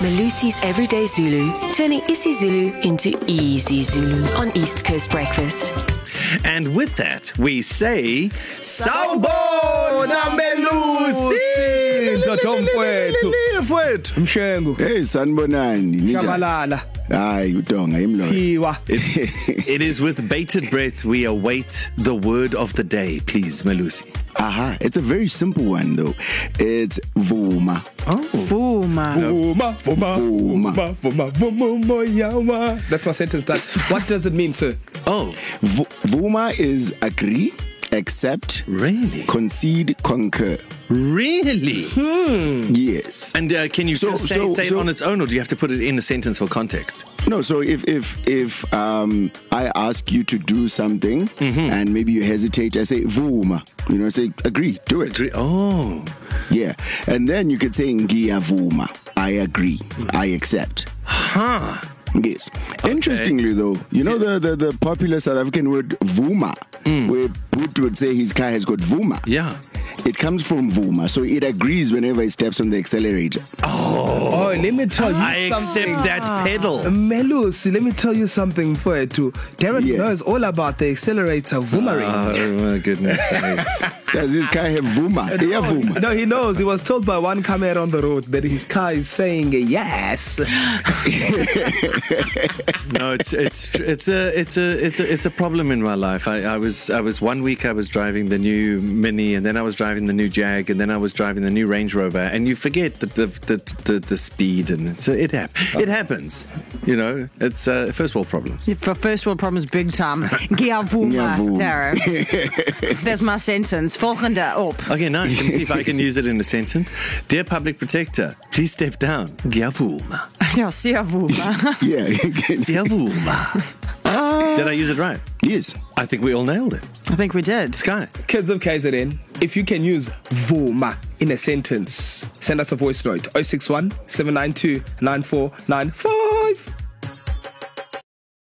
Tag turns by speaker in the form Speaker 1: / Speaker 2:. Speaker 1: Malusi's Everyday Zulu, turning isiZulu into easy Zulu on East Coast Breakfast.
Speaker 2: And with that, we say Sawubona Melusi
Speaker 3: Ntotomfowethu.
Speaker 2: Mfowethu.
Speaker 3: Mshengo,
Speaker 4: Hey sanibonani ninjani?
Speaker 3: Shabalala,
Speaker 4: Hayi uDonga imloyo.
Speaker 3: Iwa.
Speaker 2: It's, it is with bated breath we await the word of the day, please, Melusi.
Speaker 4: Aha, it's a very simple one though. It's vuma.
Speaker 5: Vuma.
Speaker 3: Vuma, vuma,
Speaker 4: Vuma.
Speaker 3: vuma, vuma, vuma, moya wa. That's my sentence. That. What does it mean, sir?
Speaker 2: Oh,
Speaker 4: V- vuma is agree, accept,
Speaker 2: really? Hmm.
Speaker 4: concede, concur.
Speaker 2: Really?
Speaker 4: Yes.
Speaker 2: And uh, can you
Speaker 4: So-
Speaker 2: just say,
Speaker 4: so-
Speaker 2: say it
Speaker 4: so-
Speaker 2: on its own, or do you have to put it in a sentence for context?
Speaker 4: No, so if if if um I ask you to do something mm-hmm. and maybe you hesitate, I say vuma. You know, I say agree, do it.
Speaker 2: Agree- Oh,
Speaker 4: Yeah. And then you could say ngiyavuma. I agree. Mm-hmm. I accept.
Speaker 2: huh.
Speaker 4: Yes. Okay. Interestingly, though, you know the, the, the popular South African word vuma, mm. where Boot would say his car has got vuma.
Speaker 2: Hmm. Yeah.
Speaker 4: It comes from vuma, so it agrees whenever he steps on the accelerator.
Speaker 3: Oh, let me tell you
Speaker 2: I
Speaker 3: something.
Speaker 2: accept that pedal.
Speaker 3: Melusi, let me tell you something for it too. Darren
Speaker 4: Yeah.
Speaker 3: yeah. knows all about the accelerator Vumari.
Speaker 2: Oh my goodness! sakes.
Speaker 4: Does his car have vuma? Yeah, vuma.
Speaker 3: No, he knows. He was told by one camera on the road that his car is saying yes.
Speaker 2: no, it's it's it's a it's a it's a it's a problem in my life. I, I was I was one week I was driving the new Mini, and then I was driving the new Jag, and then I was driving the new Range Rover, and you forget the the the, the, the speed, and it's, it hap- it happens. You know, it's uh, first world problems.
Speaker 5: For first world problems, big time. Giavuma,
Speaker 4: Ngiyavuma.
Speaker 5: Tara. There's my sentence. Volgende op.
Speaker 2: Okay, now let me see if I can use it in a sentence. Dear public protector, please step down. Ngiyavuma.
Speaker 5: Ja, siavuma.
Speaker 4: Yeah. you can-
Speaker 2: Siyavuma. Did I use it right?
Speaker 4: yes.
Speaker 2: I think we all nailed it.
Speaker 5: I think we did.
Speaker 2: Sky.
Speaker 3: Kids of KZN, if you can use Vuma oh in a sentence, send us a voice note 061 792 9494.